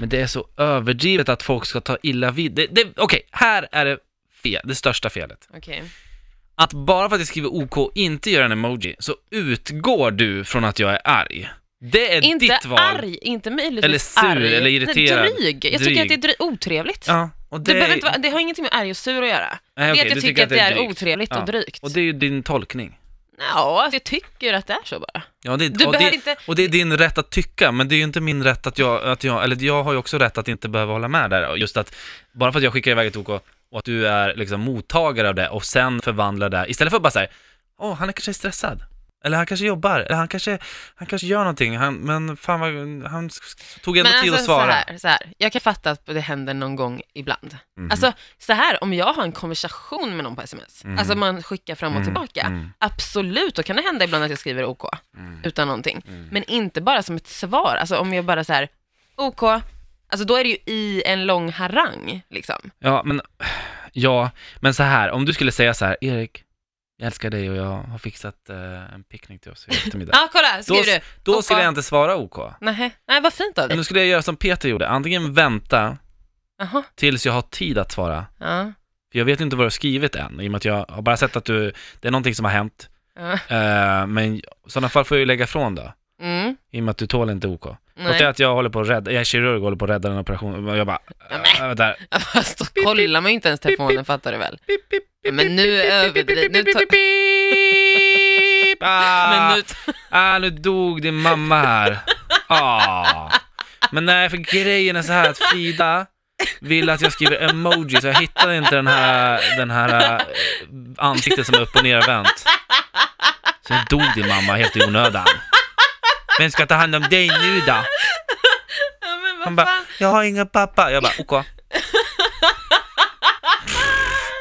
Men det är så överdrivet att folk ska ta illa vid. Det, det, Okej, här är det fel, det största felet. Okej. Att bara för att jag skriver OK inte gör en emoji, så utgår du från att jag är arg. Det är Inte ditt val. arg, inte möjligtvis Eller sur arg. eller irriterad. Dryg. Jag tycker Dryg. att det är dry- otrevligt. Ja, och Det, det, behöver inte vara, det har ingenting med arg och sur att göra. Nej, det är okej, att jag du tycker, att det är, otrevligt Ja. och drygt. Och det är ju din tolkning. Ja, alltså, jag tycker att det är så bara. Ja, det, Du och, behöver det, inte- och det är din rätt att tycka, men det är ju inte min rätt att jag, att jag, eller jag har ju också rätt att inte behöva hålla med där. Och Just att, bara för att jag skickar iväg ett OK och att du är liksom mottagare av det och sen förvandlar det, istället för att bara säga åh, han är kanske stressad. Eller han kanske jobbar, eller han kanske, han kanske gör någonting, han, men fan vad, han s- s- tog ändå tid att alltså, så svara. här, så här, jag kan fatta att det händer någon gång ibland. Mhm. Alltså så här, om jag har en konversation med någon på sms, Mhm. alltså man skickar fram och Mm, tillbaka, mm. absolut, då kan det hända ibland att jag skriver OK Mm. utan någonting. Mm. Men inte bara som ett svar, alltså om jag bara så här, OK, alltså då är det ju i en lång harang liksom. Ja, men, ja, men så här, om du skulle säga så här, Erik, jag älskar dig och jag har fixat eh, en picknick till oss i eftermiddag. Ja, ah, kolla, Då, skriver du. då OK. skulle jag inte svara OK. Nähä, nej vad fint av Men dig. då skulle jag göra som Peter gjorde, antingen vänta Jaha, tills jag har tid att svara. ja. För jag vet inte vad du har skrivit än, i och med att jag har bara sett att du, det är någonting som har hänt. ja. Eh, men i sådana fall får jag ju lägga ifrån då, Mm, i och med att du tål inte OK. Fattar jag nej, att jag håller på att rädda, jag är kirurg och håller på att rädda en operation, och jag bara, äh, vänta, här. fast då kollar man ju inte ens telefonen fattar du väl. Ja, Men nu överdriver, nu tar... Pip, ah. Men nu, Ah, nu dog din mamma här. Ah. Men nej, för grejen är så här att Frida vill att jag skriver emojis, jag hittade inte den här, den här eh, ansiktet som är upp och nervänt. Så nu dog din mamma helt i onödan. Vem ska ta hand om dig nu då? ja, men Han vad fan. bara, jag har ingen pappa. Jag bara, okej.